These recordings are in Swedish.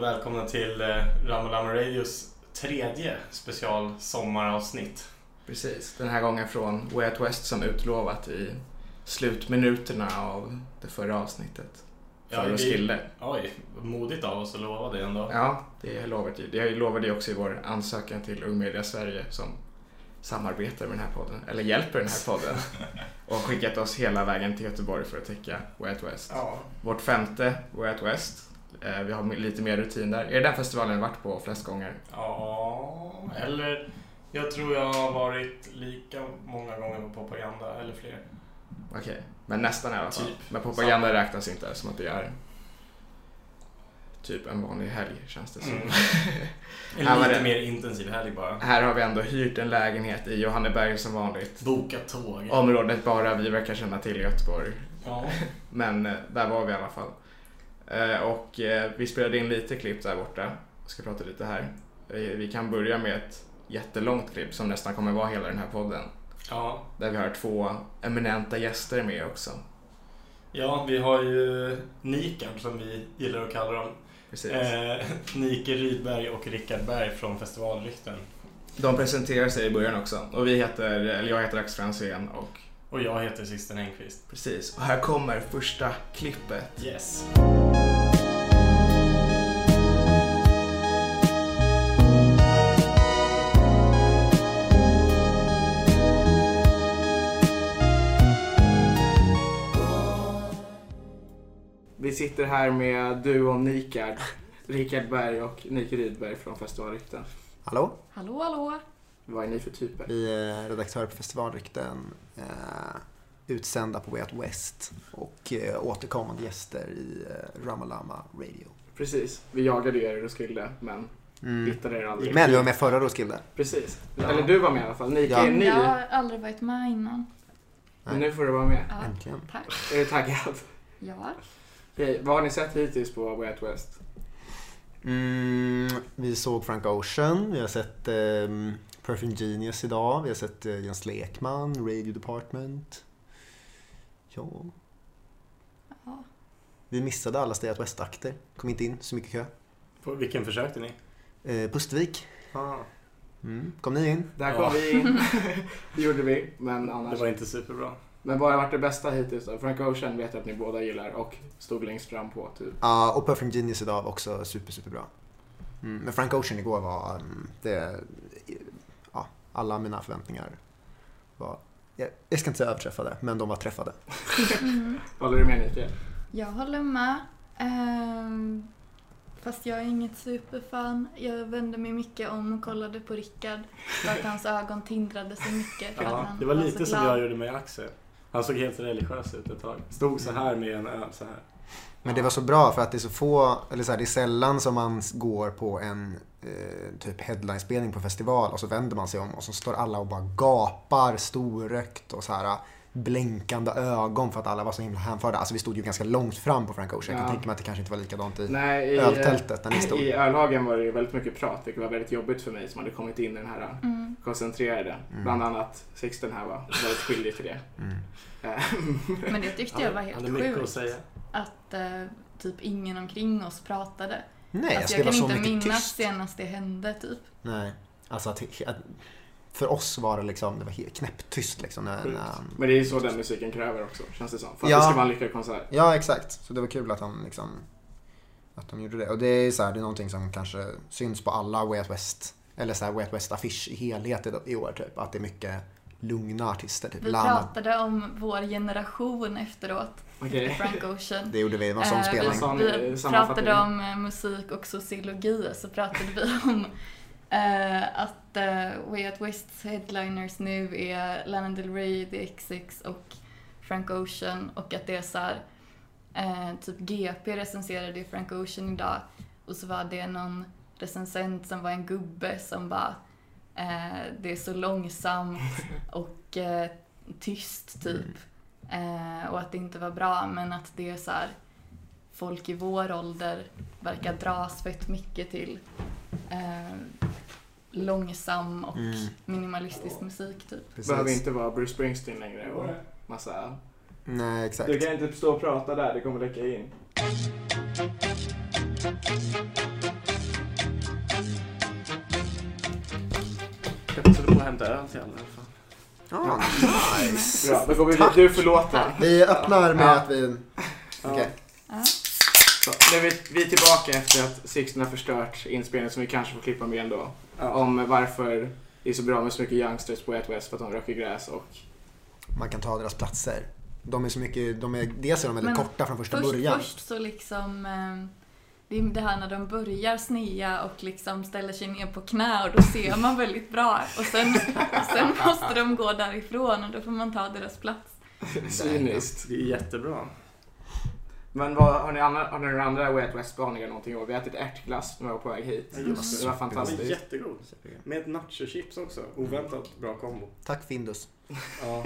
välkomna till eh, Ramo Lamo Radios tredje special sommaravsnitt. Precis, den här gången från Way Out West som utlovat i slutminuterna av det förra avsnittet. Ja, För ja, vi- Roskilde. Oj, modigt av oss att lova det ändå. Ja, det lovade ju. Jag lovade ju också i vår ansökan till Ung Media Sverige som samarbetar med den här podden, eller hjälper den här podden. Och skickat oss hela vägen till Göteborg för att täcka Way Out West. Ja. Vårt femte Way Out West. Eh, Vi har lite mer rutin där. Är det den festivalen ni varit på flest gånger? Ja, eller jag tror jag har varit lika många gånger på propaganda, eller Mm. fler. Okej, men nästan i alla fall. Typ. Men propaganda räknas inte som att det är typ en vanlig helg känns det som. Mm. Ja, En men lite det- mer intensiv helg bara. Här har vi ändå hyrt en lägenhet i Johanneberg som vanligt. Boka tåg. Området bara vi verkar känna till i Göteborg. Ja. Men eh, där var vi i alla fall. Eh, Och eh, vi spelade in lite klipp där borta. Jag ska prata lite här. Eh, Vi kan börja med ett jättelångt klipp som nästan kommer vara hela den här podden. ja. Där vi har två eminenta gäster med också. Ja, vi har ju Nikan som vi gillar att kalla dem. Precis. Eh, Nike Rydberg och Rickard Berg från Festivallykten. De presenterar sig i början också. Och vi heter, eller jag heter Axel Franzén och Och jag heter Sixten Engqvist. precis. Och här kommer första klippet. Yes. Vi sitter här med du och Nikard, Rickard Berg och Nike Rydberg från Festivalrykten. Hallå? Hallå, hallå! Vad är ni för typer? Vi är redaktörer på Festivalrykten, eh, utsända på Way Out West och eh, återkommande gäster i eh, Ramalama Radio. Precis, vi jagade ju er i Roskilde men Mm. hittade er aldrig. Men vi var med förra Roskilde. Precis, Ja. eller du var med i alla fall. Nike Ja. är ny, Jag har aldrig varit med innan. men nu får du vara med. Mm. Ja, Äntligen. tack. Är du taggad? Ja. Okej, vad har ni sett hittills på Way Out West? Mm, vi såg Frank Ocean, vi har sett eh, Perfect Genius idag, vi har sett eh, Jens Lekman, Radio Department. Ja. ja. Vi missade alla Stay Out West-akter, kom inte in, så mycket kö. På vilken försökte ni? Eh, Pustvik, Ah. mm. kom ni in? Där kom Ja. vi in. det gjorde vi, men Det annars. var inte superbra. Men vad har varit det bästa hittills då? Frank Ocean vet jag att ni båda gillar och stod längst fram på typ. Ja, och Perfect Genius idag var också super, super bra. Mm, men Frank Ocean igår var... mm, Det, ja, alla mina förväntningar var... Jag, jag ska inte säga överträffade, men de var träffade. Mm. Håller du med Nike? Jag håller med. Ehm, fast jag är inget superfan. Jag vände mig mycket om och kollade på Rickard. För att hans ögon tindrade så mycket. För att Ja, han det var lite så som Alltså, glad. jag gjorde med Axel. Han såg helt religiös ut ett tag. Stod så här med en öl så här. Men det var så bra för att det är så få, eller så här, det är sällan som man s- går på en eh, typ headlinespelning på festival och så vänder man sig om och så står alla och bara gapar storögt och så här blänkande ögon för att alla var så himla hänförda. Alltså vi stod ju ganska långt fram på Frank Ocean. Jag Ja. kan tänka mig att det kanske inte var likadant i Nej, i, eh, öltältet när ni stod. I ölhagen var det ju väldigt mycket prat, vilket var väldigt jobbigt för mig som hade kommit in i den här Mm. koncentrerade. Mm. Bland annat Sixten här var väldigt skyldig till det. Mm. Eh, Men det tyckte jag var helt hade mycket att sjukt. säga. Att eh, typ ingen omkring oss pratade. Nej, alltså, alltså, jag det var kan så inte mycket minnas tyst. senast det hände typ. Nej, alltså att, att, för oss var det liksom, det var helt knäpptyst liksom. När, Sjukt. när, Men det är ju så den musiken kräver också, känns det som. För att Ja. det ska vara en lyckad konsert. ja, exakt. Så det var kul att han liksom, att de gjorde det. Och det är så här, det är någonting som kanske syns på alla Way Out West, eller så här Way Out West-affisch i helhet i, i år typ. Att det är mycket lugna artister, typ Vi Lana. pratade om vår generation efteråt. Okej. efter Frank Ocean. Det gjorde vi, det var en sån Eh, spelning. sa ni i Vi sammanfattningen? pratade om eh, musik och sociologi så pratade vi om eh, att eh, Way Out Wests headliners nu är Lana Del Rey, The XX och Frank Ocean och att det är så här, eh, typ GP recenserade ju Frank Ocean idag och så var det någon recensent som var en gubbe som bara eh, det är så långsamt och eh, tyst typ eh, och att det inte var bra men att det är så här folk i vår ålder verkar dras fett mycket till eh, långsam och Mm. minimalistisk musik typ. Behöver Precis. inte vara Bruce Springsteen längre och massa... Nej, exakt. Du kan inte stå och prata där, det kommer läcka in. Jag passade på att hämta öl till alla i alla fall. Ja, Ah, nice. Bra, då går vi vidare. Du är förlåten. Vi öppnar med Ja. att vi... Ja. Okej. Ja. Så, nu är vi, vi är tillbaka efter att Sixten har förstört inspelningen som vi kanske får klippa med ändå. Ja. Om varför det är så bra med så mycket youngsters på Way West för att de röker gräs och Man kan ta deras platser. De är så mycket, de är, dels är de väldigt Men korta från första Först, början. först så liksom eh, det är det här när de börjar snea och liksom ställer sig ner på knä och då ser man väldigt bra. Och sen, och sen måste de gå därifrån och då får man ta deras plats. cyniskt. Det är jättebra. Men vad, har, ni andra, har ni några andra Way West-spaningar någonting i år? Vi har ätit ärtglass när vi var på väg hit. Ja, just Det var fantastiskt. Den är jättegod. Med ett nachochips också. Oväntat bra kombo. Tack Findus. Ja.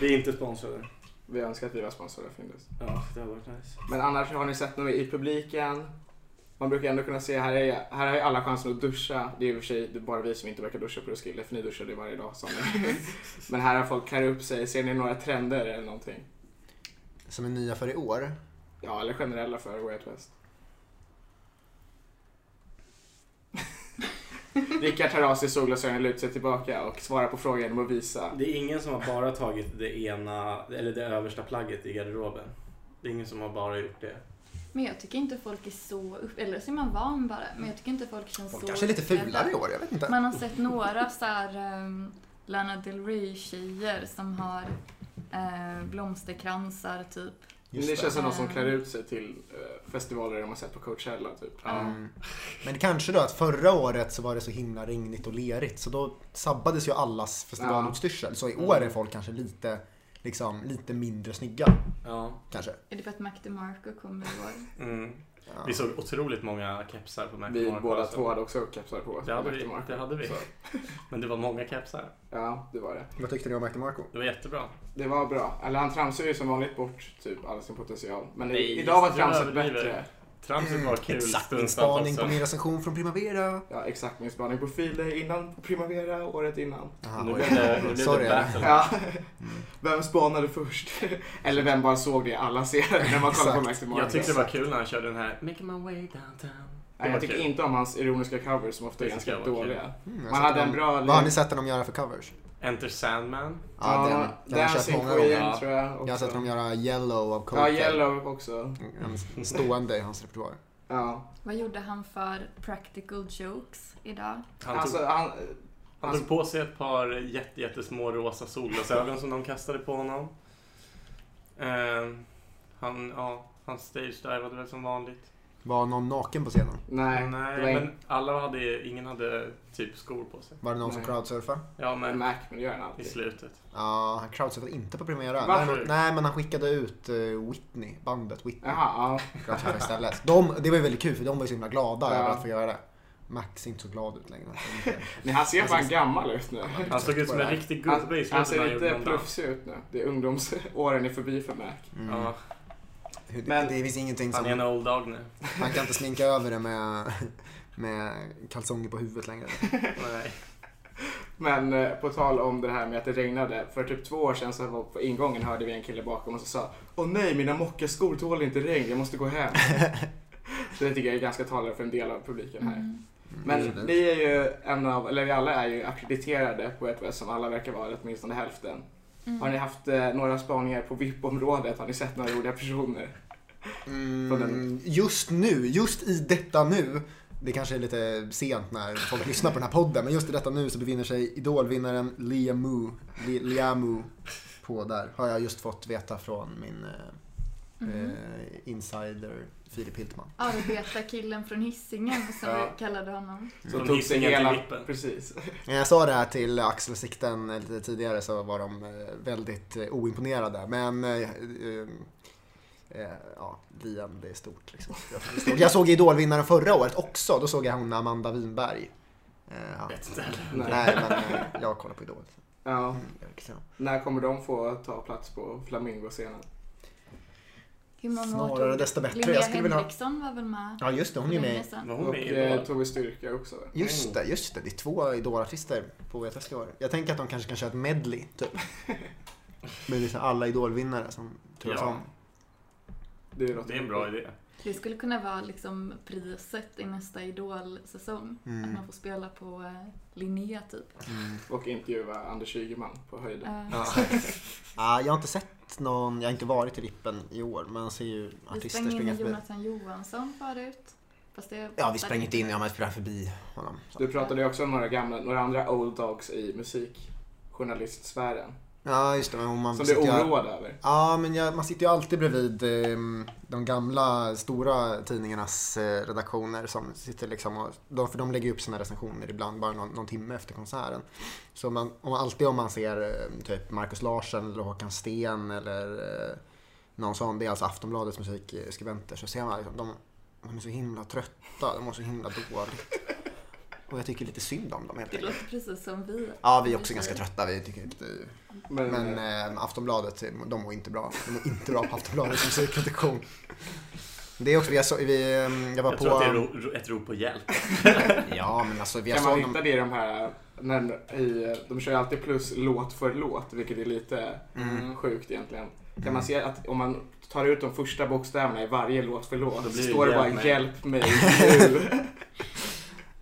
Vi är inte sponsrade. Vi önskar att vi var sponsrade av Findus. Ja, det har varit nice. Men annars har ni sett något i publiken? Man brukar ändå kunna se, här, är, här har ju alla chansen att duscha. Det är i och för sig det är bara vi som inte verkar duscha på Roskilde, för ni duschar ju varje dag. Som ni. Men här har folk klär upp sig. Ser ni några trender eller någonting? Som är nya för i år. Ja, eller generella för Way Out West. Rickard tar av sig solglasögonen, lutar sig tillbaka och svarar på frågan genom att visa. Det är ingen som har bara tagit det ena, eller det översta plagget i garderoben. Det är ingen som har bara gjort det. Men jag tycker inte folk är så upp... Eller så är man van bara. Men jag tycker inte folk känns Folk så kanske är lite uppklädda. fulare i år, jag vet inte. Man har sett några så här um, Lana Del Rey-tjejer som har eh, blomsterkransar typ. Men Just det det. känns som någon som klär ut sig till eh, festivaler de har sett på Coachella typ. Mm. Men kanske då att förra året så var det så himla regnigt och lerigt så då sabbades ju allas festivalutstyrsel. Så i år är folk kanske lite, liksom, lite mindre snygga. Ja. Kanske. Är det för att Mac DeMarco kommer i år? Mm. Ja. Vi såg otroligt många kepsar på Mac Vi Marco båda också. två hade också kepsar på oss. Alltså. Det hade, vi, Jättemark. det hade vi. Så. Men det var många kepsar. Ja, det var det. Vad tyckte ni om Mac DeMarco? Det var jättebra. Det var bra. Eller han tramsade ju som vanligt bort typ all sin potential. Men i- Nej, idag var du tramset överdriver. bättre. Tramset Mm. var kul. Exakt min stundtals spaning på också. min recension från Primavera. Ja, exakt min spaning på File innan Primavera, året innan. Aha, Nu oj. blev det, nu blev Sorry. det battle. Ja. Mm. Vem spanade först? Eller vem bara såg det alla ser när man kollar på Exakt. Max DeMarco? Jag tyckte det var kul när han körde den här Making my way downtown. Nej, var jag tycker kul. inte om hans ironiska covers som ofta är Det tycker ganska jag var kul. dåliga. Mm, Man jag har hade sett en dem- bra... Vad har ni sett dem göra för covers? Enter Sandman. Ja, den, den har jag sett Dancing många Queen gånger. tror jag också. Jag har sett dem göra Yellow av Ja, Coldplay. Yellow också. En stående i hans repertoar. Ja. Vad gjorde han för practical jokes idag? Han tog, Alltså, han, han tog på sig ett par jätte, jättesmå rosa solglasögon som de kastade på honom. Ehm, han, ja, han stage-divade väl som vanligt. Var någon naken på scenen? nej, det var Nej, men alla hade, ingen hade typ skor på sig. Var det någon som Nej. crowdsurfade? Ja, men men Mac, men det gör han i alltid. slutet. Ja, han crowdsurfade inte på Primera. Varför? Däremot- Nej, men han skickade ut eh, Whitney, bandet Whitney. Jaha, Crowdsurfade istället. De, det var ju väldigt kul för de var ju så himla glada Ja. över att få göra det. Max ser inte så glad ut längre. ja. Men han ser Alltså, fan gammal ut nu. Han såg ut som en riktig gubbe i slutet Han när han ser gjorde lite någon dans. proffsig ut nu. Det är ungdomsåren är förbi för Mac. Mm. Ja, Hur- det- men- det finns ingenting han är en som... old dog nu. Han kan inte sminka över det med, med kalsonger på huvudet längre. Nej. Men eh, på tal om det här med att det regnade. För typ två år sedan så var på ingången hörde vi en kille bakom oss och sa Åh nej, mina mockaskor tål inte regn, jag måste gå hem. så det tycker jag är ganska talande för en del av publiken här. Mm. Men Mm. ni är ju en av, eller vi alla är ju akkrediterade på ett som alla verkar vara, eller åtminstone hälften. Mm. Har ni haft eh, några spaningar på VIP-området? Har ni sett några roliga personer? Mm. På Mm, den. just nu, just i detta nu. Det kanske är lite sent när folk lyssnar på den här podden, men just i detta nu så befinner sig idolvinnaren Liamu, Li, Liamu på där. Har jag just fått veta från min eh, Mhm. eh, insider Filip Hiltman. Arbetarkillen från Hisingen som Ja. vi kallade honom. Så Från tog sig Hisingen till hela... Vippen. Precis. När jag sa det här till Axel och Sikten lite tidigare så var de eh, väldigt eh, oimponerade. Men eh, eh, eh, ja, Liam, det är stort liksom. Jag tycker det är stort. Jag såg idolvinnaren förra året också. Då såg jag hon Amanda Winberg. Eh, ja. Vet inte heller. Nej. Nej, men eh, jag kollar på Idol. Ja. Mm, jag kan. När kommer de få ta plats på Flamingo-scenen? Hur många år Snarare tog det? desto bättre. Linnea Jag skulle vilja ha... Henriksson var väl med? Ja, just det. Hon är för med. länge i- sedan. Var hon Och med i eh, Idol? Tove Styrka också. Just det, just det. Det är två idolartister på VTS i år. Jag tänker att de kanske kan köra ett medley, typ. Med liksom alla idolvinnare som turas Ja. om. Det är, något Det är en bra idé. Det skulle kunna vara liksom priset i nästa Idol-säsong. Att Mm. man får spela på eh, Linnea typ. Mm. Och intervjua Anders Ygeman på höjden. Eh, Ja. Ah, jag har inte sett någon, jag har inte varit i Vippen i år, men jag ser ju vi artister sprängde springa in förbi. Jonathan Johansson förut. Fast det Ja, vi sprang inte in, ja men sprang förbi honom. Du pratade ju också om några, gamla, några andra old dogs i musikjournalistsfären. Ja, just det. Men om man Som du sitter ju- oroade över. Ja, men jag, man sitter ju alltid bredvid ehm, de gamla stora tidningarnas eh, redaktioner. Som sitter liksom och, de, för de lägger ju upp sina recensioner ibland bara någon, någon timme efter konserten. Så man, om man, alltid om man ser eh, typ Markus Larsson eller Håkan Sten eller eh, någon sån, det är alltså Aftonbladets musikskribenter, så ser man liksom, de, de är så himla trötta, de mår så himla dåligt. Och jag tycker lite synd om dem helt Det enkelt. låter precis som vi. Ja, vi är också ganska trötta. Vi tycker inte Men, men eh, eh, Aftonbladet, de mår inte bra. De mår inte bra på Aftonbladets musikredaktion. Det är också, vi, så, vi, eh, jag var Jag på... tror att det är ro, ro, ett rop på hjälp. Ja, men alltså vi kan man såg hitta det i de här, när, i, de kör ju alltid plus låt för låt, vilket är lite Mm. sjukt egentligen. Kan Mm. man se att om man tar ut de första bokstäverna i varje låt för låt, så Då blir det står det bara hjälp mig. hjälp mig nu.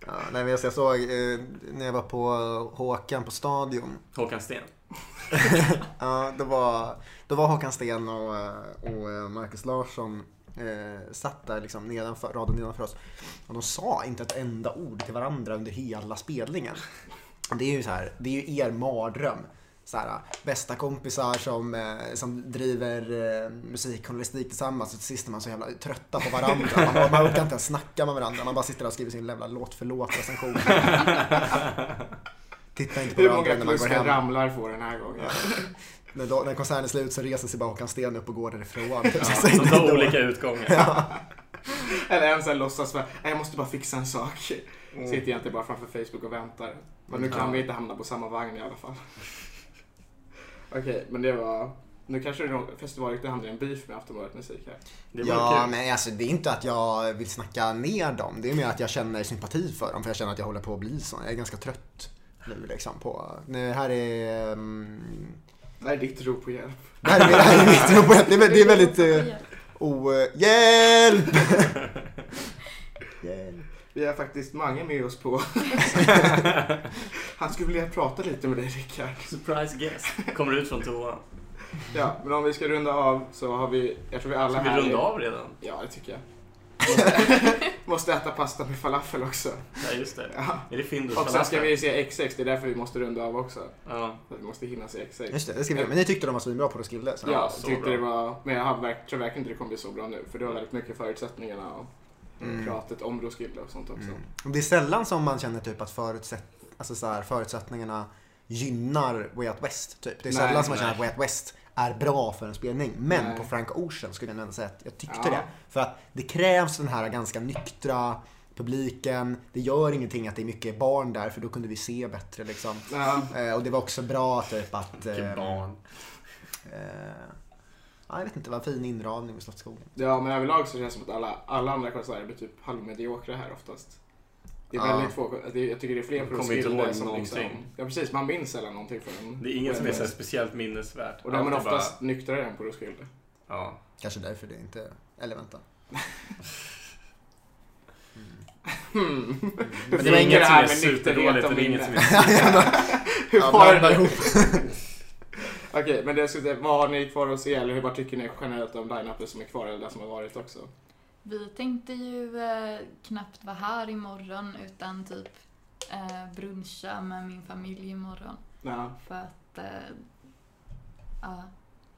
Ja, nej, men jag såg eh, när jag var på eh, Håkan på Stadion. Håkan Sten. ja, då, var, då var Håkan Sten och, eh, och eh, Marcus Larsson eh, satt där liksom nedanför, raden nedanför oss. Och de sa inte ett enda ord till varandra under hela spelningen. Det är ju så här, det är ju er mardröm. Så här, bästa kompisar som, eh, som driver eh, musikjournalistik tillsammans och till sist är man så jävla trötta på varandra. Man, man orkar inte ens snacka med varandra. Man bara sitter där och skriver sin jävla låt för låt recension. Titta inte på Hur varandra många när man plus går kan hem. ramlar får den här gången? När, då, när konserten är slut så reser sig bara Håkan Sten upp och går därifrån. Ja, Säg de det tar då. olika utgångar. Eller en sån här låtsas vara, "Nej, jag måste bara fixa en sak. Mm. Sitter egentligen bara framför Facebook och väntar. Men nu Mm. kan Ja. vi inte hamna på samma vagn i alla fall. Okej, men det var... Nu kanske det är någon- festivalryktet hamnar i en beef med Aftonbladet Musik här. Det var Ja, kul. men alltså, det är inte att jag vill snacka ner dem. Det är mer att jag känner sympati för dem. För jag känner att jag håller på att bli sån. Jag är ganska trött nu liksom. På, nu, här är... Um, Det här är ditt rop på hjälp. det här är, det här är mitt rop. Det är, vä- det är väldigt... Uh, o, hjälp! hjälp! Vi har faktiskt Mange med oss på. Han skulle vilja prata lite med dig Rickard. Surprise guest. Kommer ut från toan. Ja, men om vi ska runda av så har vi, jag tror vi alla Ska vi här... runda av redan? Ja, det tycker jag. Måste, måste äta pasta med falafel också. Ja, just det. Ja. Är det Findus Och sen ska falafel? vi se XX, det är därför vi måste runda av också. Ja. För att vi måste hinna se XX. Just det, det ska vi göra. Men ni tyckte de var svinbra på Roskilde. Så. Ja, jag så tyckte bra. det var, men jag har verk, tror verkligen inte det kommer bli så bra nu för det var väldigt mycket förutsättningarna och Mm. pratet om Roskilde och sånt också. Mm. Och Det är sällan som man känner typ att förutsätt, alltså så här, förutsättningarna gynnar Way Out West. Typ. Det är Nej, sällan som man nej. känner att Way Out West är bra för en spelning. Men Nej. på Frank Ocean skulle jag ändå säga att jag tyckte Ja. det. För att det krävs den här ganska nyktra publiken. Det gör ingenting att det är mycket barn där för då kunde vi se bättre liksom. Ja, Eh, och det var också bra typ att... Vilket barn. eh, ja, jag vet inte, vad fin inramning med Slottsskogen. ja, men överlag så känns det som att alla, alla andra konserter blir typ halvmediokra här oftast. Det är Ja. väldigt få, det är- jag tycker det är fler Man på kommer inte Roskilde ihåg som liksom, någonting. ja precis, man minns sällan någonting från Det är ingen som är från- så här speciellt minnesvärt. Och de är Allt oftast nyktrare än på Roskilde. Bara, ja. Kanske därför det inte... Eller vänta. Hmm. Men det funkar är inget som här är med nykterhet superdåligt och och det är inget som minne? är... Hur Ja, var blanda det? ihop. Okej, men det jag skulle säga, vad har ni kvar att se eller hur, vad tycker ni generellt om line-upen som är kvar eller det som har varit också? Vi tänkte ju eh, knappt vara här imorgon utan typ eh, bruncha med min familj imorgon. Ja. För att eh, ja,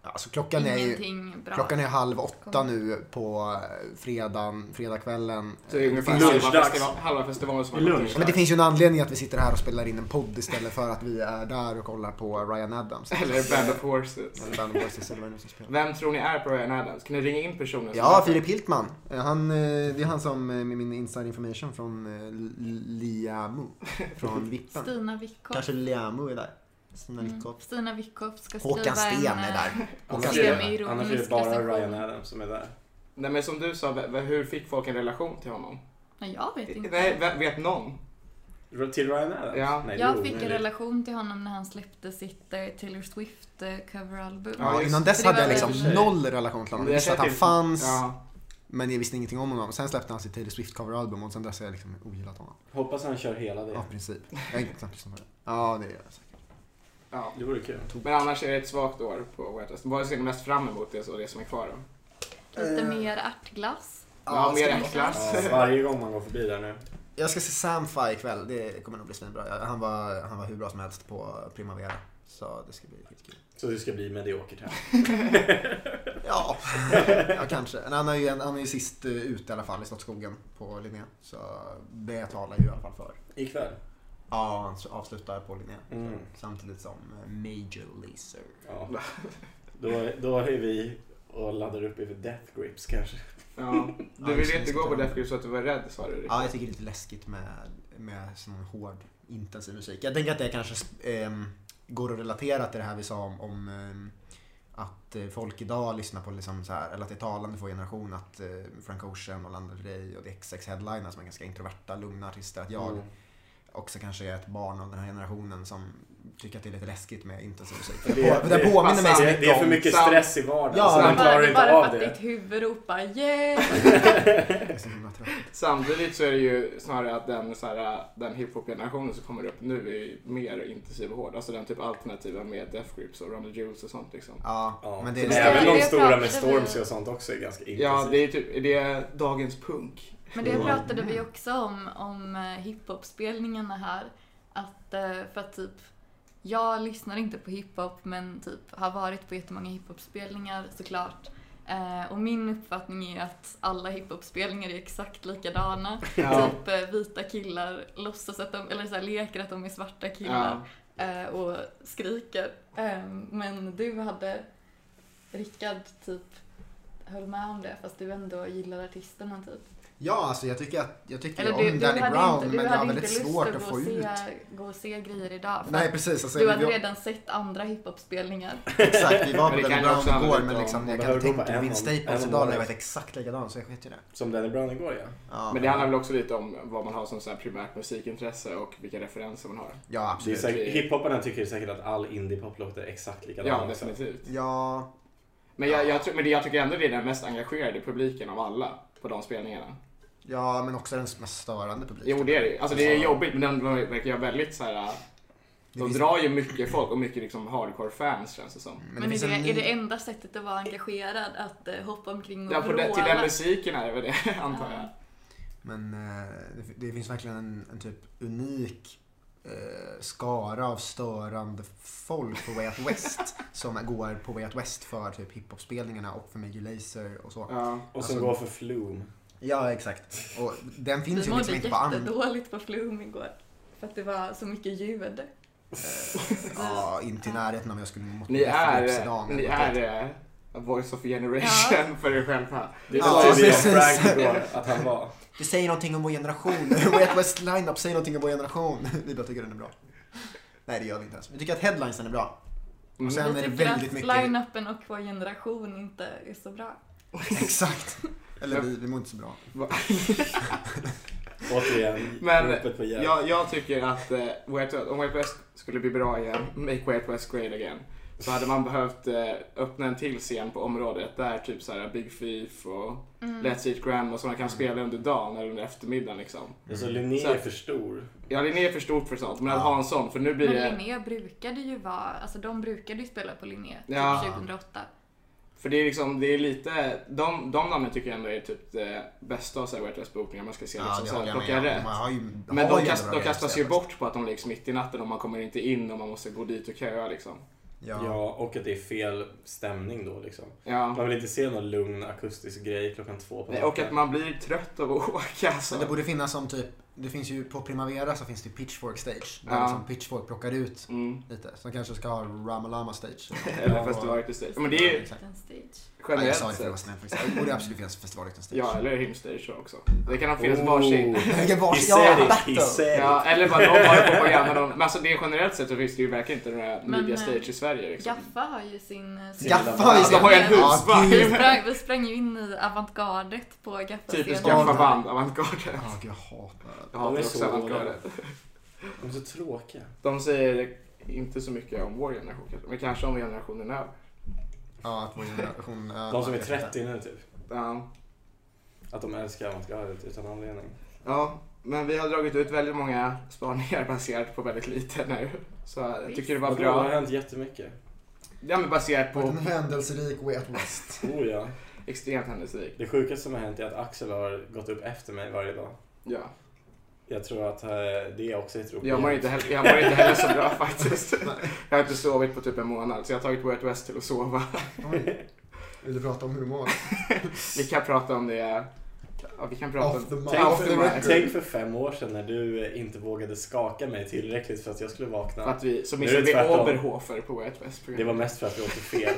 Ja, Alltså klockan är ju... ingenting bra. Klockan är halv åtta nu på fredag, fredagskvällen. Så det är ungefär Lunchdags. halva, festival, halva festivalen som har gått Lunch. ut. Men det finns ju en anledning att vi sitter här och spelar in en podd istället för att vi är där och kollar på Ryan Adams. Eller Band of Horses. Eller Band of Voices eller vad det nu är som spelar. Vem tror ni är på Ryan Adams? Kan ni ringa in personen? som Ja, är- Filip Hiltman. Eh, Han, eh, det är han som eh, med min inside information från eh, L- Liamu. Från Vippen. Stina Wickhoff. Kanske Liamu är där. Stina Mm. Lyckhoff. Stina Wickhoff ska skriva Håkan Sten en... är eh, där. Håkan Sten Sten. med ironisk Annars är det bara recension. Ryan Adams som är där. Nej men som du sa, v- v- hur fick folk en relation till honom? Nej, jag vet inte. Nej, v- vet någon? Till Ryan Adams? Ja. Nej, jag jo, fick en men det- relation till honom när han släppte sitt eh, Taylor Swift eh, coveralbum. Ja, Ja, just- innan dess det var hade jag väl liksom i och för sig. noll relation till honom. Jag visste att han känner till- fanns. Ja. Men jag visste ingenting om honom. Sen släppte han sitt Taylor Swift coveralbum och sen dess har jag liksom ogillat honom. Hoppas han kör hela det. Ja, i princip. Jag har inte knappt lyssnat på det. Ja, det gör jag säkert. Ja. Det vore kul. Men annars är det ett svagt år på White West. Vad ser ni mest fram emot det, så det som är kvar då? Lite Eh. mer ärtglass. Ja, mer ska- äcklas. Ja, varje gång man går förbi där nu. Jag ska se Samfi ikväll. Det kommer nog bli svinbra. Jag- Han var, han var hur bra som helst på Primavera. Så det ska bli skitkul. Så det ska bli mediokert här. Ja, ja kanske. Men han är ju, en, han är ju sist eh, ut i alla fall i Slottsskogen på Linné. Så det talar ju i alla fall för. Ikväll. Ja, han avslutar på Linné. Mm. Samtidigt som eh, Major Lazer. Ja. Då, då är vi och laddar upp inför Death Grips kanske. Ja. Ja, Du det ville känns inte gå på spännande. Death Grips så att du var rädd sa du. Rickard. Ja, jag tycker det är lite läskigt med, med sån hård, intensiv musik. Jag tänker att det kanske ehm, går att relatera till det här vi sa om, om ehm, att eh, folk idag lyssnar på, liksom så här, eller att det är talande för vår generation att eh, Frank Ocean och Lana Del Rey och The XX headliner som är ganska introverta, lugna artister, att Mm. Mm. jag också kanske är ett barn av den här generationen som tycker att det är lite läskigt med intensiv musik. För det, på, det, påminner mig passar så det, mycket det är för om- mycket Sam- stress i vardagen Ja, så man men- klarar bara inte bara av för att det. ditt huvud ropar yeah. Jag är så himla trött. Samtidigt så är det ju snarare att den, så här, den hiphop-generationen som kommer upp nu är ju mer intensiv och hård. Alltså den typ alternativa med Death Grips och Ronda Jules och sånt liksom. Ja, Ja. men det Men det är även jag de stora med pratade med- Stormzy och sånt också är ganska Ja, intensivt. det är ju typ, är det dagens punk? Men det pratade vi också om, om eh, hiphop-spelningarna här. Att, eh, för att typ, jag lyssnar inte på hiphop men typ har varit på jättemånga hiphop-spelningar såklart. Eh, och min uppfattning är att alla hiphop-spelningar är exakt likadana. Ja. Typ eh, vita killar låtsas att de, eller så här, leker att de är svarta killar Ja. eh, och skriker. Eh, men du hade, Rickard typ höll med om det fast du ändå gillar artisterna typ. Ja, alltså jag tycker, att, jag tycker Eller om du, du Danny hade Brown inte, du men jag hade har inte väldigt lust svårt gå att få och ut. se, gå och se grejer idag. För Nej att precis, alltså, du vi, hade vi, redan sett andra hiphopspelningar. exakt, vi var på Men det Danny kan ju också Brown handla igår lite men om- liksom, man jag kan behöver gå tänka på mig en min om- Staples en om idag hade året. varit exakt likadan så jag skiter i det. Som Danny Brown igår ja. Ja, Men det handlar väl också lite om vad man har som så här primärt musikintresse och vilka referenser man har. Ja, Det är absolut. säkert, hiphoparna tycker säkert att all indie-pop låter exakt Ja, likadant. definitivt. Ja, Men jag, jag, tror- men det- jag tycker ändå det är den mest engagerade publiken av alla på de spelningarna. ja, men också den mest störande publiken. Jo, det är det ju. Alltså det är Ja. jobbigt, men den verkar ju väldigt så här. Det De finns- drar ju mycket folk och mycket liksom hardcore fans känns det som. Men, finns är, det, en ny- är det enda sättet att vara engagerad att eh, hoppa omkring och Ja, på den, till den vråla? musiken är det väl det, antar jag. Men eh, det, det finns verkligen en, en typ unik eh, skara av störande folk på Way Out West som går på Way Out West för typ hiphop-spelningarna och för Major Lazer och så. Ja. Och som Alltså- går för flume. Ja, exakt. Och den Vi finns ju mådde liksom inte på andra... jättedåligt på Flum igår. För att det var så mycket ljud. Eh, Ja, inte i närheten om jag skulle mått Ni är, Idag, men ni är eh, a voice of generation för er själva. Det Ja, sa ju vi om precis. Frank igår att han var. Det säger någonting om vår generation. Way Out West lineup säger någonting om vår generation. Vi bara tycker den är bra. Nej, det gör vi inte ens. Vi tycker att headlinesen är bra. Mm. Och sen är det väldigt att mycket... line-upen och vår generation inte är så bra. Exakt. Eller vi, vi mår inte så bra. Återigen, Men ropet på hjälp. Mm. Jag, jag tycker att eh, White, om White West skulle bli bra igen, make White West great again, så hade man behövt eh, öppna en till scen på området där typ så här Big Thief och Mm. Let's Eat Graham och Mm. sådana kan spela under dagen eller under eftermiddagen liksom. Alltså Linné Så- är för stor. Ja, Linné är för stort för sånt, men att Ja. ha en sån, för nu blir Men det... Linné brukade ju vara, alltså de brukade ju spela på Linné typ Ja. 2008. För det är liksom, det är lite... De, de namnen tycker jag ändå är typ det bästa av så här White West-bokningar man ska se liksom så här, plocka om. rätt. Man har ju, Men har de, ju kast, jävla de bra kastas ju grejer. bort på att de läggs mitt i natten och man kommer inte in och man måste gå dit och köa liksom. Ja. Ja. och att det är fel stämning då liksom. Ja. Man vill inte se någon lugn akustisk grej klockan två på Nej, och att man blir trött av att åka. Men det Alltså. borde finnas som typ, det finns ju på Primavera så finns det ju Pitchfork Stage. Där Ja. liksom Pitchfork plockar ut Mm. lite. Så de kanske ska ha Ramalama Stage. Eller festivalartist stage. Men det är ju Exakt. Den stage. Ja, jag sa det generellt för att vara sett. snäll faktiskt. Det borde absolut finnas festivalartisten stage. Ja, eller hymnstage också. Det kan finnas varsin. Vilken Oh, he vars... said Ja, it, he battle! said it. Ja, eller bara de har ju propaganda. De, men alltså det är generellt sett så finns det ju verkligen inte några Men, media eh, stage i Sverige. Liksom. Gaffa har ju sin... eh, Gaffa Gaffa har ju Alltså, de har ju en Ja, husvagn. Vi sprang, vi sprang ju in i avantgardet på Gaffascenen. Typiskt Gaffa. gaffaband, avantgarde. Ja, gud jag hatar Jag De hatar är också så avantgarde. De är så tråkiga. De säger inte så mycket om vår generation kanske, men kanske om generationen över. Ja, att vår generation... ja, De som är jag vet inte. 30 nu typ. Ja. Att de älskar avantgardet utan anledning. Ja, men vi har dragit ut väldigt många spaningar baserat på väldigt lite nu. Så jag tycker det var Vadå, Det har bra. hänt jättemycket. Ja, men baserat På en på händelserik Way Out West. Oh ja. extremt händelserik. Det sjukaste som har hänt är att Axel har gått upp efter mig varje dag. Ja. Jag tror att eh, det också är tråkigt. Jag mår inte heller, jag mår inte heller så bra faktiskt. Jag har inte sovit på typ en månad så jag har tagit Way Out West till att sova. Oj. Vill du prata om hur du mår? Vi kan prata om det. Ja, vi kan prata Off the om mic. Tänk Tänk Off the för- för, record. tänk för fem år sedan när du eh, inte vågade skaka mig tillräckligt för att jag skulle vakna. För att vi, så Nu är missade det vi tvärtom. Oberhofer på Way Out West. Det var mest för att vi åkte fel.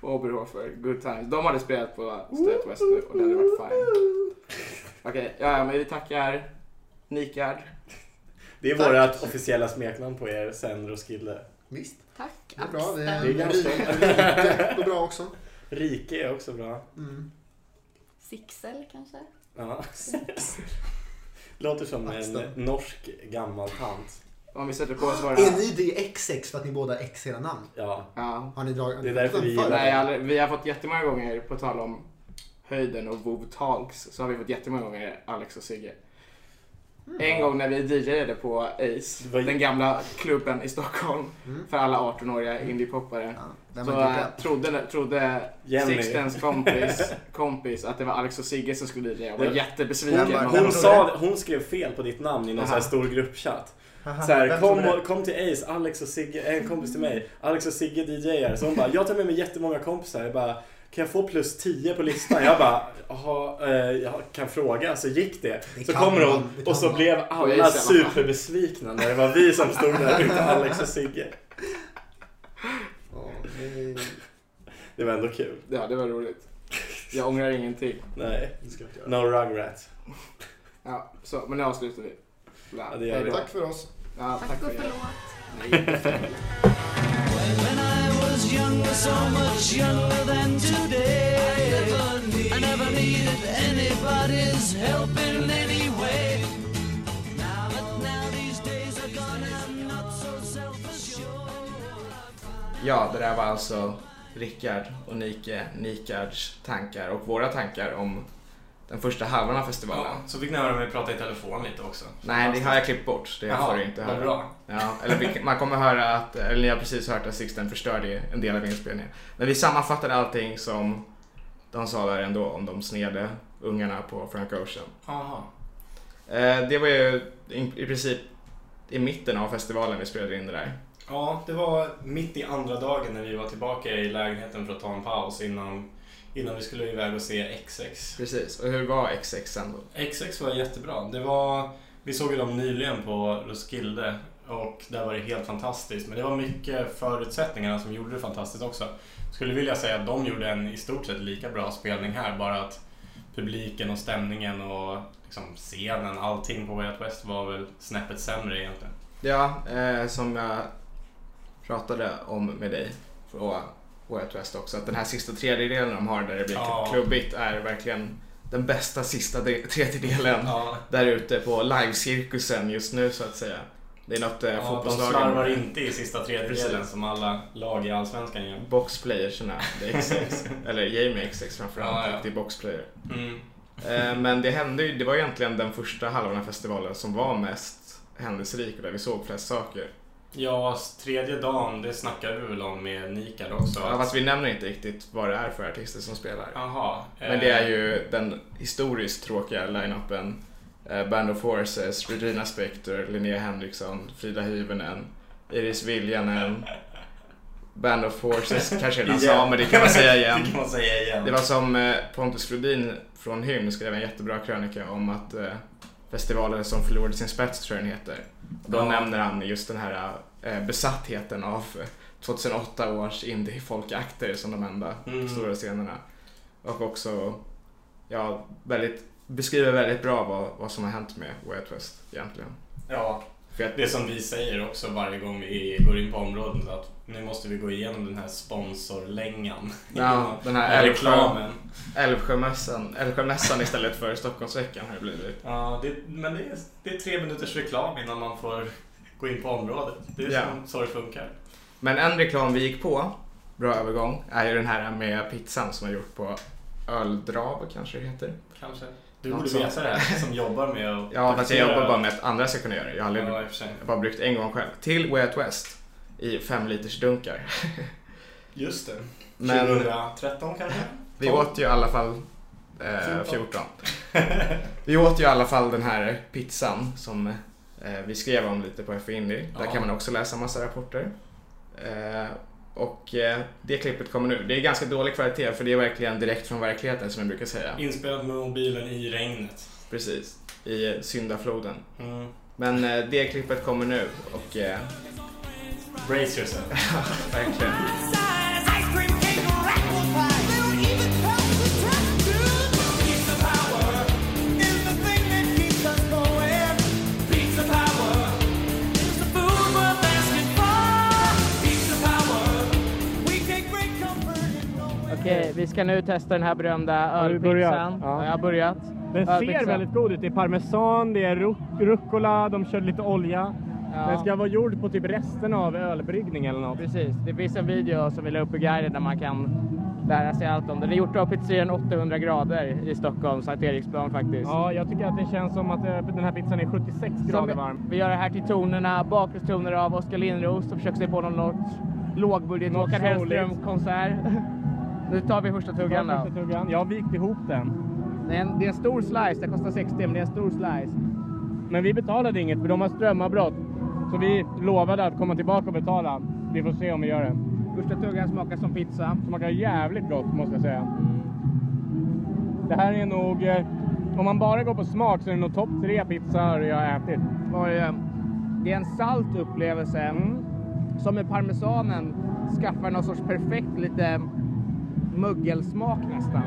Oberhofer, Good Times. De hade spelat på State West nu och det hade varit fine. Okej, ja, ja, men vi tackar Nikard. Det är Tack. vårt officiella smeknamn på er sen Roskilde. Visst, Tack det är bra. Det är, Det är Axel. ganska- rike går bra också. Rike är också bra. Mm. Sixel kanske? Ja. Låter som en Axel. norsk gammal tant. Om vi sätter på oss våra... Är ni det XX för att ni båda har X i era namn? Ja. Ja. Har ni dragit Det är därför vi gillar Nej, aldrig, vi har fått jättemånga gånger, på tal om höjden och Vov Talks, så har vi fått jättemånga gånger Alex och Sigge. En gång när vi DJade på Ace, Det var ju- den gamla klubben i Stockholm, Mm. för alla 18-åriga indiepoppare. Ja, den Så var äh, inte trodde, trodde Jenny. Sixtens kompis, kompis att det var Alex och Sigge som skulle DJa och var Det- jättebesviken. Hon, Den var- Och- hon, den sa, hon skrev fel på ditt namn i någon så här Aha. stor gruppchatt. Haha, eh, Så här, vem kom, trodde det? och- kom till Ace, Alex och Sigge, eh, en kompis till mig, Alex och Sigge DJar. Så hon bara, jag tar med mig jättemånga kompisar. Jag bara, kan jag få plus 10 på listan? Jag bara, jaha, eh, jag kan fråga. Så gick det. Det Så kan kommer man, hon det kan och så man. blev Och jag alla gissar vad fan. superbesvikna när det var vi som stod där, inte Alex och Sigge. Ja, det är- Det var ändå kul. Ja, det var roligt. Jag ångrar ingenting. Nej, det ska jag inte göra. no rugrat. Ja, så, men nu avslutar vi. Ja, det gör vi. Hej då. Tack för oss. Ja, Tack och er. förlåt. Nej. When I was younger, so much younger than today, I never, needed anybody's help in any way. Now, but now these days are gone, I'm not so self-assured. Ja, det där var alltså Rickard och Nike, Nikards tankar och våra tankar om den första halvan av festivalen. Ja, så fick ni höra mig prata i telefon lite också. Nej, det har jag klippt bort. Det Jaha, får du inte vad höra. bra. Ja, eller vi, man kommer höra att, eller ni har precis hört att Sixten förstörde en del av inspelningen. Men vi sammanfattade allting som de sa där ändå om de snede ungarna på Frank Ocean. Jaha. Eh, det var ju i, i princip i mitten av festivalen vi spelade in det där. Ja, det var mitt i andra dagen när vi var tillbaka i lägenheten för att ta en paus innan, innan vi skulle iväg och se XX. Precis, och hur var XX sen då? XX var jättebra. Det var, vi såg ju dem nyligen på Roskilde och där var det helt fantastiskt. Men det var mycket förutsättningarna som gjorde det fantastiskt också. Skulle vilja säga att de gjorde en i stort sett lika bra spelning här, bara att publiken och stämningen och liksom scenen, allting på Way Out West var väl snäppet sämre egentligen. Ja, eh, som jag pratade om med dig på Way West också, att den här sista tredjedelen de har där det blir typ Ja. klubbigt är verkligen den bästa sista de- tredjedelen Ja, där ute på livecirkusen just nu så att säga. Det är något eh, ja, de fotbollslagen... slarvar inte i sista tredjedelen Precis. som alla lag i Allsvenskan gör. Boxplayersarna, det är XX. eller Jamie XX framförallt, Ja, ja. och det är boxplayer. Mm. Eh, Men det hände ju, det var egentligen den första halvan av festivalen som var mest händelserik och där vi såg flest saker. Ja, s- tredje dagen, det snackade vi väl om med Nikard också. Ja, fast vi nämner inte riktigt vad det är för artister som spelar. Jaha. Men det Eh. är ju den historiskt tråkiga line-upen. Eh, Band of Forces, Regina Spektor, Linnea Henriksson, Frida Hyvönen, Iris Viljanen. Band of Forces kanske redan sa, men det kan man säga igen. eh, det kan man säga igen. Det var som eh, Pontus Flodin från Hymn skrev en jättebra krönika om att eh, festivalen som förlorade sin spets tror jag den heter. Och Då Ja. nämner han just den här eh, besattheten av eh, 2008 års indie-folkakter som de enda Mm. stora scenerna. Och också ja, väldigt, beskriver väldigt bra vad, vad som har hänt med Way Out West egentligen. Ja, För att, det som vi säger också varje gång vi går in på området att nu måste vi gå igenom den här sponsorlängan. ja, den här Med Älvsjö, reklamen. Älvsjömässan, Älvsjömässan istället för Stockholmsveckan har det blivit. Ja, det, men det är, det är tre minuters reklam innan man får gå in på området. Det är Ja. som, så det funkar. Men en reklam vi gick på, bra övergång, är ju den här med pizzan som jag gjort på öldrag kanske det heter. Kanske. Du Något borde sånt. veta det här som jobbar med att Ja, fast jag paketera- jobbar bara med att andra ska kunna göra det. Jag har aldrig Ja, i och för sig. jag har bara bryggt en gång själv. Till Way Out West i fem liters dunkar. Just det. Men 2013 kanske? vi åt ju i alla fall eh, 14. vi åt ju i alla fall den här pizzan som eh, vi skrev om lite på FA Indy. Där Ja. kan man också läsa massa rapporter. Eh, och eh, det klippet kommer nu. Det är ganska dålig kvalitet för det är verkligen direkt från verkligheten som jag brukar säga. Inspelat med mobilen i regnet. Precis, i eh, syndafloden. Mm. Men eh, det klippet kommer nu och eh, Brace yourself. verkligen. Okej, vi ska nu testa den här berömda ölpizzan. Ja, jag har börjat. Den Ölpizza. ser väldigt god ut. Det är parmesan, det är ruc- rucola, de körde lite olja. Ja. Den ska vara gjord på typ resten av ölbryggning eller något. Precis, det finns en video som vi la upp i guiden där man kan lära sig allt om det. Det är gjort av pizzerian 800 grader i Stockholm, Sankt Eriksplan faktiskt. Ja, jag tycker att det känns som att eh, den här pizzan är 76 grader varm. vi gör det här till tonerna, bakgrundstoner av Oskar Lindros och försöker se på någon låt lågbudget Något Håkan soligt. Hellström-konsert. Nu tar vi första tuggan Jag har då. första tuggan. Jag har vikt ihop den. Det är en, det är en stor slice, den kostar 60 men det är en stor slice. Men vi betalade inget för de har strömavbrott. Så vi lovade att komma tillbaka och betala. Vi får se om vi gör det. Första tuggan smakar som pizza. Mm. Smakar jävligt gott måste jag säga. Det här är nog, eh, om man bara går på smak så är det nog topp tre pizzor jag har ätit. Och, eh, det är en salt upplevelse Mm. som med parmesanen skaffar någon sorts perfekt lite muggelsmak nästan.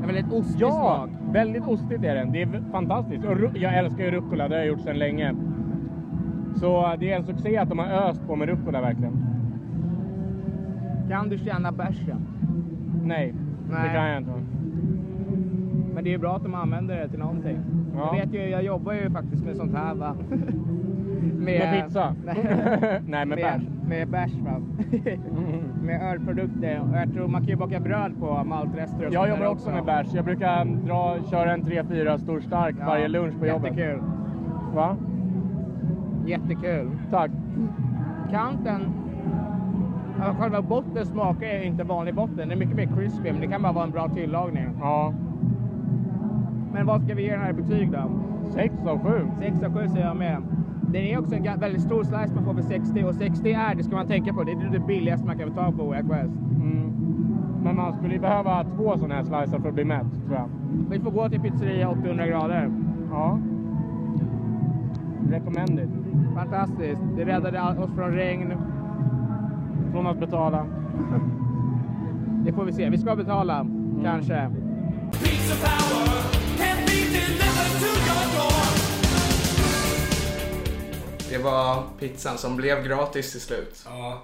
En väldigt ostig Ja, smak. väldigt ostigt är den. Det är v- fantastiskt. Och ru- jag älskar ju rucola, det har jag gjort sedan länge. Så eh, det är en succé att de har öst på med rucola verkligen. Kan du känna bärsen? Nej, Nej. det kan jag inte. Men det är ju bra att de använder det till någonting. Ja. Jag vet ju, jag jobbar ju faktiskt med sånt här va. Med pizza? Nej, Nej, med med, bärs. Mm. med bärs va. med ölprodukter. Och jag tror man kan ju baka bröd på maltrester och sånt Jag där jobbar också med bärs. Jag brukar mm, dra, köra en 3-4 stor stark Ja, varje lunch på jobbet. Jättekul. Va? Jättekul. Tack. kanten. Ja, Själva botten smakar ju inte vanlig botten. Den är mycket mer crispy, men det kan bara vara en bra tillagning. Ja, Men vad ska vi ge den här i betyg då? 6 av 7. 6 av 7 säger jag med. Det är också en ga- väldigt stor slice man får för 60 och 60 är, det ska man tänka på, det är det billigaste man kan få tag på Way Out West. Mm. Men man skulle ju behöva två sådana här slicer för att bli mätt, tror jag. Vi får gå till pizzeria 800 grader. Ja. Recommended. Fantastiskt, det räddade all- oss från regn. Från att betala. Det får vi se, vi ska betala, Mm. kanske. Det var pizzan som blev gratis till slut. Ja,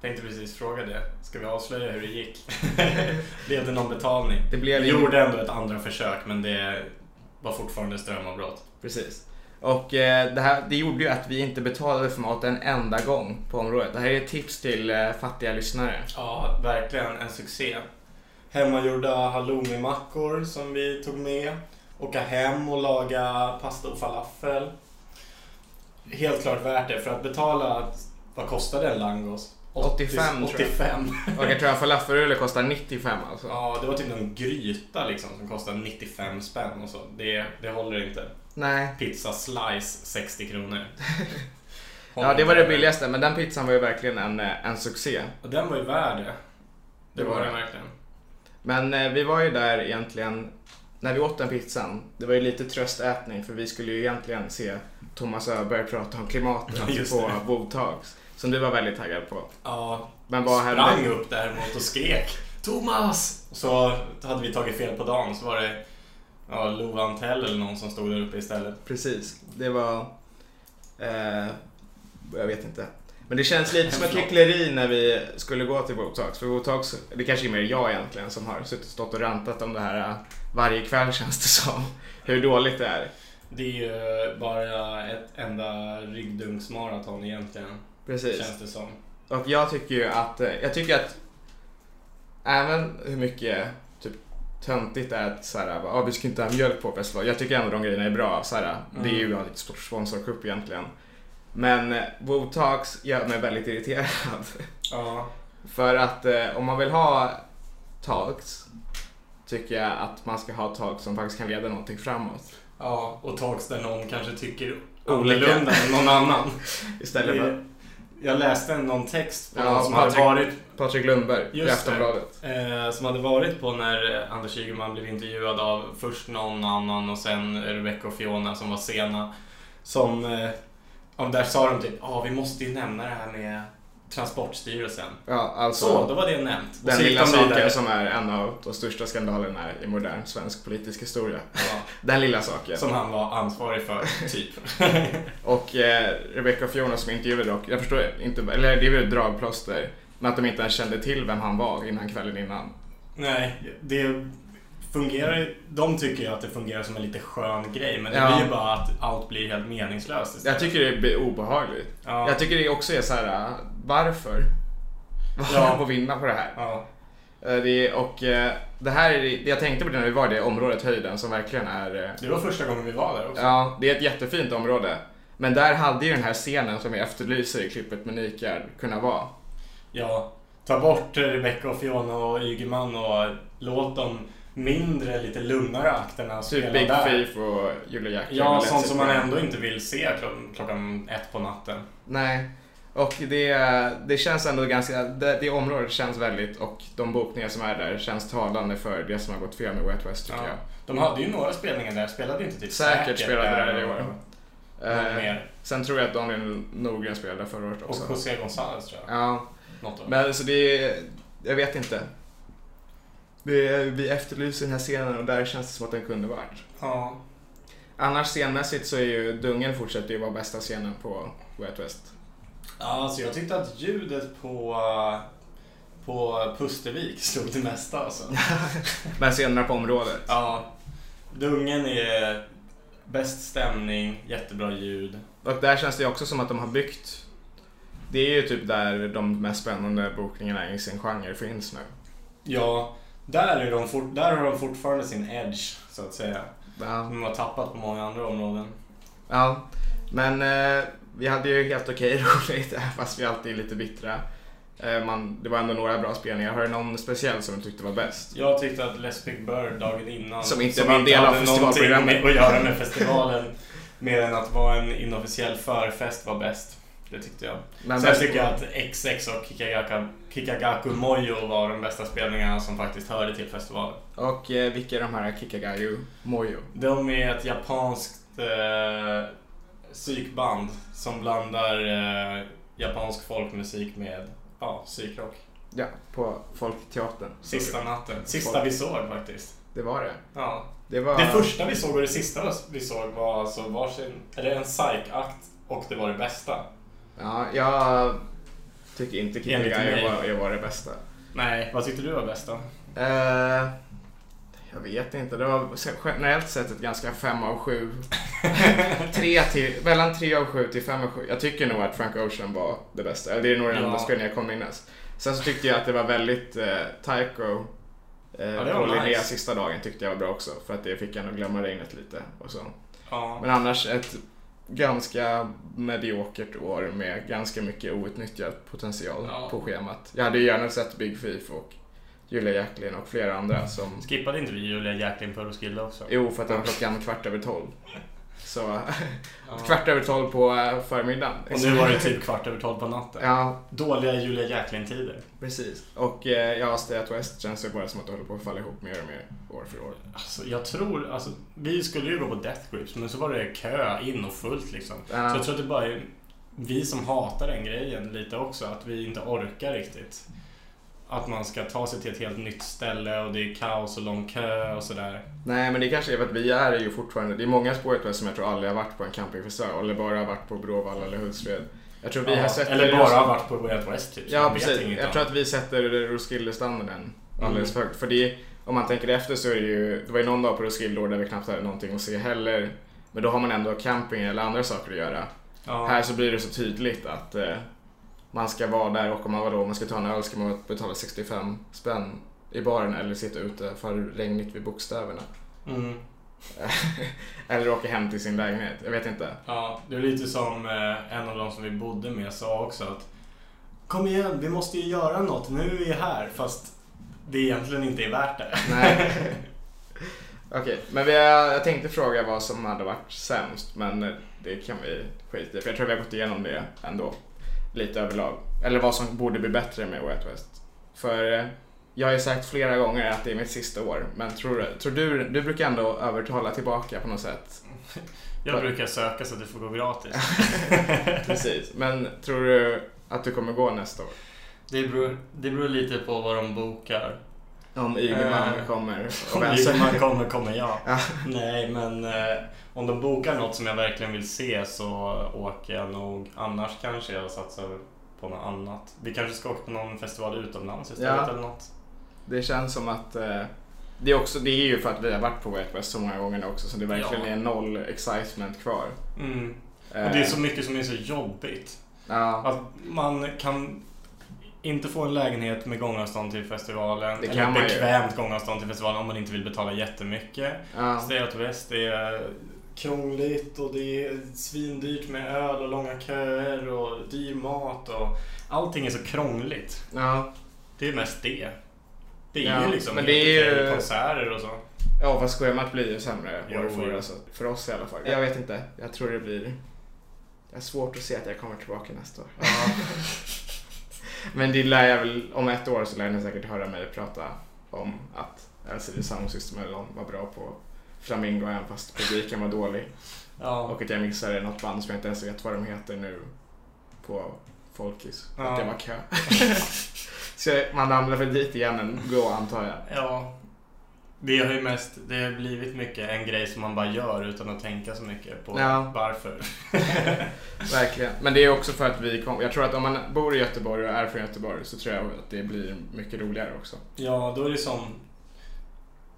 tänkte precis fråga det. Ska vi avslöja hur det gick? Blev det någon betalning? Det blev Vi ju- gjorde ändå ett andra försök men det var fortfarande strömavbrott. Precis. Och eh, det, här, det gjorde ju att vi inte betalade för mat en enda gång på området. Det här är ett tips till eh, fattiga lyssnare. Ja, verkligen en succé. Hemmagjorda halloumimackor som vi tog med. Åka hem och laga pasta och falafel. Helt klart värt det för att betala, vad kostade en langos? 85, tror jag. 85. Och jag tror att falafelrulle kostar 95 alltså. Ja, det var typ någon gryta liksom som kostade 95 spänn och så. Det, det håller inte. Nej. Pizza slice 60 kronor. Ja, det var det billigaste. Men den pizzan var ju verkligen en, eh, en succé. Och den var ju värd det. Det var den verkligen. Men eh, vi var ju där egentligen, när vi åt den pizzan, det var ju lite tröstätning för vi skulle ju egentligen se Thomas Öberg prata om Ja, klimatet just på det. Botags. Som du var väldigt taggad på. Ja, Men vad sprang hände? upp däremot och skrek Thomas! Och Så hade vi tagit fel på dagen så var det ja, Lova Antell eller någon som stod där uppe istället. Precis, det var... Eh, jag vet inte. Men det känns lite som ett hyckleri när vi skulle gå till Botags. För Botags, det kanske är mer jag egentligen som har suttit stått och rantat om det här eh, varje kväll känns det som. Hur dåligt det är. Det är ju eh, bara ett enda ryggdunksmaraton egentligen, Precis. känns det som. Och jag tycker ju att, eh, jag tycker att även hur mycket typ töntigt är att så här, bara, ah, vi ska inte ha mjölk på festival. Jag tycker ändå de grejerna är bra. Så här, Det är ju Mm. en lite stor sponsorkupp egentligen. Men eh, Botox gör mig väldigt irriterad. Ja. För att eh, om man vill ha talks tycker jag att man ska ha talks som faktiskt kan leda någonting framåt. ja, och talks där någon kanske tycker Olika. annorlunda än någon annan. Istället Det- för Jag läste någon text på Ja, någon som hade Patrik- varit Patrik Lundberg i Just Aftonbladet. Eh, som hade varit på när eh, Anders Ygeman blev intervjuad av först någon annan och sen Rebecca och Fiona som var sena. Som, eh, ja, men där sa de typ, ja vi måste ju nämna det här med Transportstyrelsen. Ja, alltså Så, då var det nämnt. den så gick lilla de saken vidare. som är en av de största skandalerna i modern svensk politisk historia. Ja, Den lilla saken. som han var ansvarig för, typ. Och eh, Rebecca och Fiona som intervjuade dock, jag förstår inte, eller det är väl ett dragplåster. Men att de inte ens kände till vem han var innan kvällen innan. Nej, det fungerar De tycker ju att det fungerar som en lite skön grej, men det Ja. blir ju bara att allt blir helt meningslöst Jag istället. tycker det blir obehagligt. Ja. Jag tycker det också är så här, äh, varför? Vad har Ja. jag på att vinna på det här? Ja. Äh, Det är, och äh, det här är, det- jag tänkte på det när vi var i det området, höjden, som verkligen är... äh, Det var första gången vi var där också. Ja, det är ett jättefint område. Men där hade ju den här scenen som jag efterlyser i klippet med Nikard kunnat vara. Ja, ta bort Rebecca och Fiona och Ygeman och låt de mindre, lite lugnare akterna Typ spela Big liksom. där. Thief och Julia Jack. Ja, Let's sånt Sit som man Down. ändå inte vill se klo- klockan ett på natten. Nej, och det, det känns ändå ganska, det, det området känns väldigt och de bokningar som är där känns talande för det som har gått fel med Wet West tycker Ja. jag. De hade ju några spelningar där, spelade inte typ Säkert spelade där i och- år. och Eh, mer. sen tror jag att Daniel Norgren spelade förra året Och också. José González tror jag. Ja, Något av. men så det är, jag vet inte. Det är, vi efterlyser den här scenen och där känns det som att den kunde varit. Ja. Annars scenmässigt så är ju Dungen fortsätter ju vara bästa scenen på Wet West. Ja, Alltså jag tyckte att ljudet på, eh, på Pustervik slog det mesta alltså. Men scenerna på området. Ja. Dungen är bäst stämning, jättebra ljud. Och där känns det också som att de har byggt det är ju typ där de mest spännande bokningarna i sin genre finns nu. Ja, där, är de fort, där har de fortfarande sin edge, så att säga. Ja, De har tappat på många andra områden. ja. men eh, vi hade ju helt okej roligt även fast vi alltid är lite bittra. Eh, man, det var ändå några bra spelningar. Har du någon speciell som du tyckte var bäst? Jag tyckte att Les Big Bird dagen innan, Som inte var en del av hade festivalprogrammet. någonting med att göra med festivalen, mer än att vara en inofficiell förfest var bäst. Det tyckte jag. Men Sen tycker jag att XX och Kikagaka, Kikagaku Mojo var de bästa spelningarna som faktiskt hörde till festivalen. Och eh, vilka är de här Kikagayo Mojo? De är ett japanskt eh, psykband som blandar eh, japansk folkmusik med ja, psykrock. Ja, på Folkteatern. Sista natten. Sista vi såg faktiskt. Det var det. Ja. Det var... Det första vi såg och det sista vi såg var alltså varsin, eller en psykakt och det var det bästa. Ja, jag tycker inte Enligt mig. Kikagayo var, var det bästa. Nej, vad tyckte du var bäst då? Eh, jag vet inte. Det var generellt sett ett ganska fem av sju. tre till, mellan tre av sju till fem av sju. Jag tycker nog att Frank Ocean var det bästa. Eller Det är nog den Ja. enda spelningen jag kommer minnas. Sen så tyckte jag att det var väldigt eh, Taiko. Eh, det på var Linnea nice. sista dagen tyckte jag var bra också. För att det fick henne att glömma regnet lite och så. Ja. Men annars ett ganska mediokert år med ganska mycket outnyttjad potential Ja. på schemat. Jag hade ju gärna sett Big Thief och Julia Jacklin och flera andra som... Skippade inte vi Julia Jacklin på Roskilde också? Jo, för att det var klockan kvart över tolv. Så kvart över tolv på eh, förmiddagen. Och nu var det typ kvart över tolv på natten. Ja, Dåliga Julia Jacklin-tider. precis. Och eh, ja, Stay at West känns ju bara som att det håller på att falla ihop mer och mer år för år. Alltså, jag tror, alltså, vi skulle ju gå på Death Grips men så var det kö in och fullt liksom. Ja. Så jag tror att det bara är vi som hatar den grejen lite också, att vi inte orkar riktigt. Att man ska ta sig till ett helt nytt ställe och det är kaos och lång kö och sådär. Nej, men det kanske är för att vi är ju fortfarande... Det är många spåret som jag tror aldrig har varit på en campingfestival eller bara har varit på Bråvalla eller Hultsfred. Jag tror vi har Ja, sett... Eller bara har varit på Way Out West typ. så Ja, man vet precis. inget Mm. Jag tror annat. att vi sätter Roskilde-standarden alldeles för högt. För det, om man tänker efter så är det ju... Det var ju någon dag på Roskilde där vi knappt hade någonting att se heller. Men då har man ändå camping eller andra saker att göra. Ja. Här så blir det så tydligt att eh, man ska vara där och om man, vadå, om man ska ta en öl ska man betala 65 spänn i baren eller sitta ute för regnigt vid bokstäverna. Mm. Eh, eller åka hem till sin lägenhet. Jag vet inte. Ja, det är lite som eh, en av de som vi bodde med sa också att Kom igen, vi måste ju göra något. Nu är vi här. Fast det egentligen inte är värt det. Nej. Okej, men vi har, jag tänkte fråga vad som hade varit sämst, men det kan vi skita i. För jag tror vi har gått igenom det ändå, lite överlag. Eller vad som borde bli bättre med Way Out West. För eh, jag har ju sagt flera gånger att det är mitt sista år, men tror, du- tror du, du brukar ändå övertala tillbaka på något sätt. Jag brukar söka så att det får gå gratis. Precis, men tror du att du kommer gå nästa år? Det beror, det beror lite på vad de bokar. Om Ygeman Eh, kommer och Om vem som... Ygeman kommer, kommer jag. Ja. Nej, men eh, om de bokar något som jag verkligen vill se så åker jag nog. Annars kanske jag satsar på något annat. Vi kanske ska åka på någon festival utomlands istället Ja. eller något. Det känns som att eh, det, är också, det är ju för att vi har varit på Way Out West så många gånger nu också så det verkligen Ja. är noll excitement kvar. Mm. Eh, Och det är så mycket som är så jobbigt. Ja, Att man kan inte få en lägenhet med gångavstånd till festivalen. Det eller kan man ju. bekvämt gångavstånd till festivalen om man inte vill betala jättemycket. ja. Stay Out West är krångligt och det är svindyrt med öl och långa köer och dyr mat och allting är så krångligt. Ja. Det är mest det. Det är Ja, ju liksom men helt det är okej ju- konserter och så. ja, vad skojar man att bli ju sämre Jo, år för, jo. alltså, för oss i alla fall. Jag vet inte, jag tror det blir... Jag har svårt att se att jag kommer tillbaka nästa år. Men det lär jag väl, om ett år så lär ni säkert höra mig prata om att LCD Sound System eller någon var bra på Flamingo även fast publiken var dålig. Ja. Och att jag missade något band som jag inte ens vet vad de heter nu på Folkis. Ja. Att det var kö. så jag- man ramlar väl dit igen ändå antar jag. ja. Det har ju mest, det har blivit mycket en grej som man bara gör utan att tänka så mycket på Ja. varför. Verkligen. Men det är också för att vi kom, Jag tror att om man bor i Göteborg och är från Göteborg så tror jag att det blir mycket roligare också. Ja, då är det som...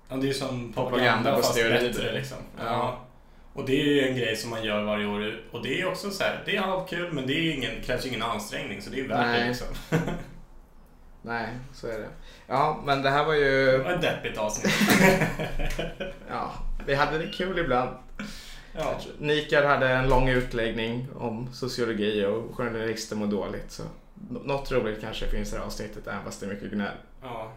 Ja, det är som Propaganda propaganda på fast steroider. bättre liksom. Ja. Ja. Och det är ju en grej som man gör varje år och det är också så här, det är halvkul men det är ingen, krävs ingen ansträngning så det är värt Nej. det liksom. Nej, så är det. Ja, men det här var ju... Det var ett deppigt avsnitt. Ja, vi hade det kul ibland. ja. Nikar hade en lång utläggning om sociologi och journalister mår dåligt. Så nå- något roligt kanske finns i det här avsnittet även fast det är mycket gnäll. ja.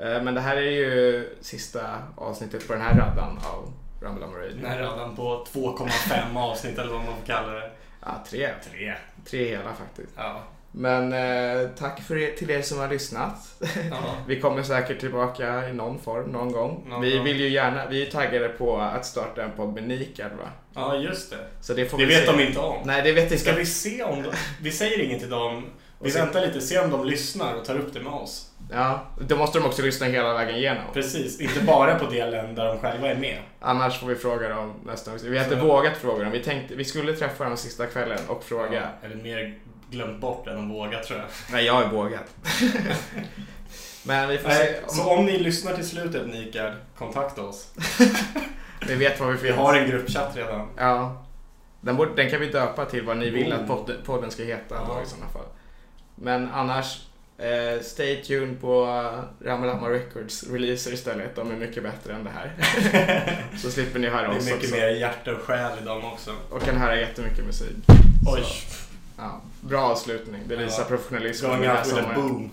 Eh, Men det här är ju sista avsnittet på den här raddan av Rumble on Radio. Den här raden på 2,5 avsnitt eller vad man får kalla det. Ja, tre. Tre. Tre hela faktiskt. Ja. Men eh, tack för er, till er som har lyssnat. ja. Vi kommer säkert tillbaka i någon form någon gång. Någon vi gång. vill ju gärna, vi är taggade på att starta en podd med Nikar va? ja, just det. Så det får Det vi vet se. de inte om. Nej, det vet inte. Ska vi se om de... Vi säger inget till dem. Vi Och sen- väntar lite, se om de lyssnar och tar upp det med oss. Ja, då måste de också lyssna hela vägen igenom. Precis, inte bara på delen där de själva är med. Annars får vi fråga dem nästa gång. Vi har inte Så- vågat fråga dem. Vi tänkte, vi skulle träffa dem sista kvällen och fråga. Eller mer glömt bort än att våga tror jag. Nej, jag har vågat. Men vi får Nej, se. Om, så om ni lyssnar till slutet Nikard, kontakta oss. vi vet vad vi Vi finns. har en gruppchatt redan. Ja. Den, borde, den kan vi döpa till vad ni vill att Oh. podden, podden ska heta då, Ja. i sådana fall. Men annars, eh, stay tuned på Ramalama Records releaser istället. De är mycket bättre än det här. så slipper ni Det höra oss är mycket också. mer hjärta och själ i dem också. Och kan höra jättemycket musik. Oj, Så, ja. Bra avslutning. Det visar Ja. professionalism. going den här out with a sommaren. boom.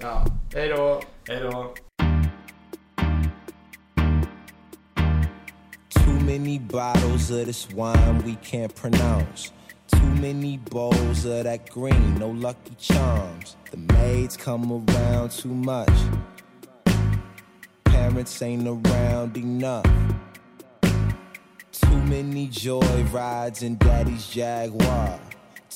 Ja. Hej då. Hej då. Too many bottles of this wine we can't pronounce. Too many bowls of that green, no lucky charms. The maids come around too much. Parents ain't around enough. Too many joy rides in daddy's Jaguar.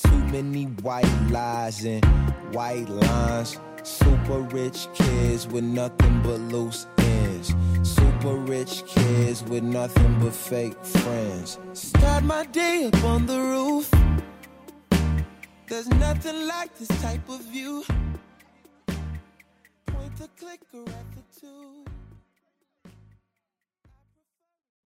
Too many white lies and white lines. Super rich kids with nothing but loose ends. Super rich kids with nothing but fake friends. Start my day up on the roof. There's nothing like this type of view. Point the clicker at the two.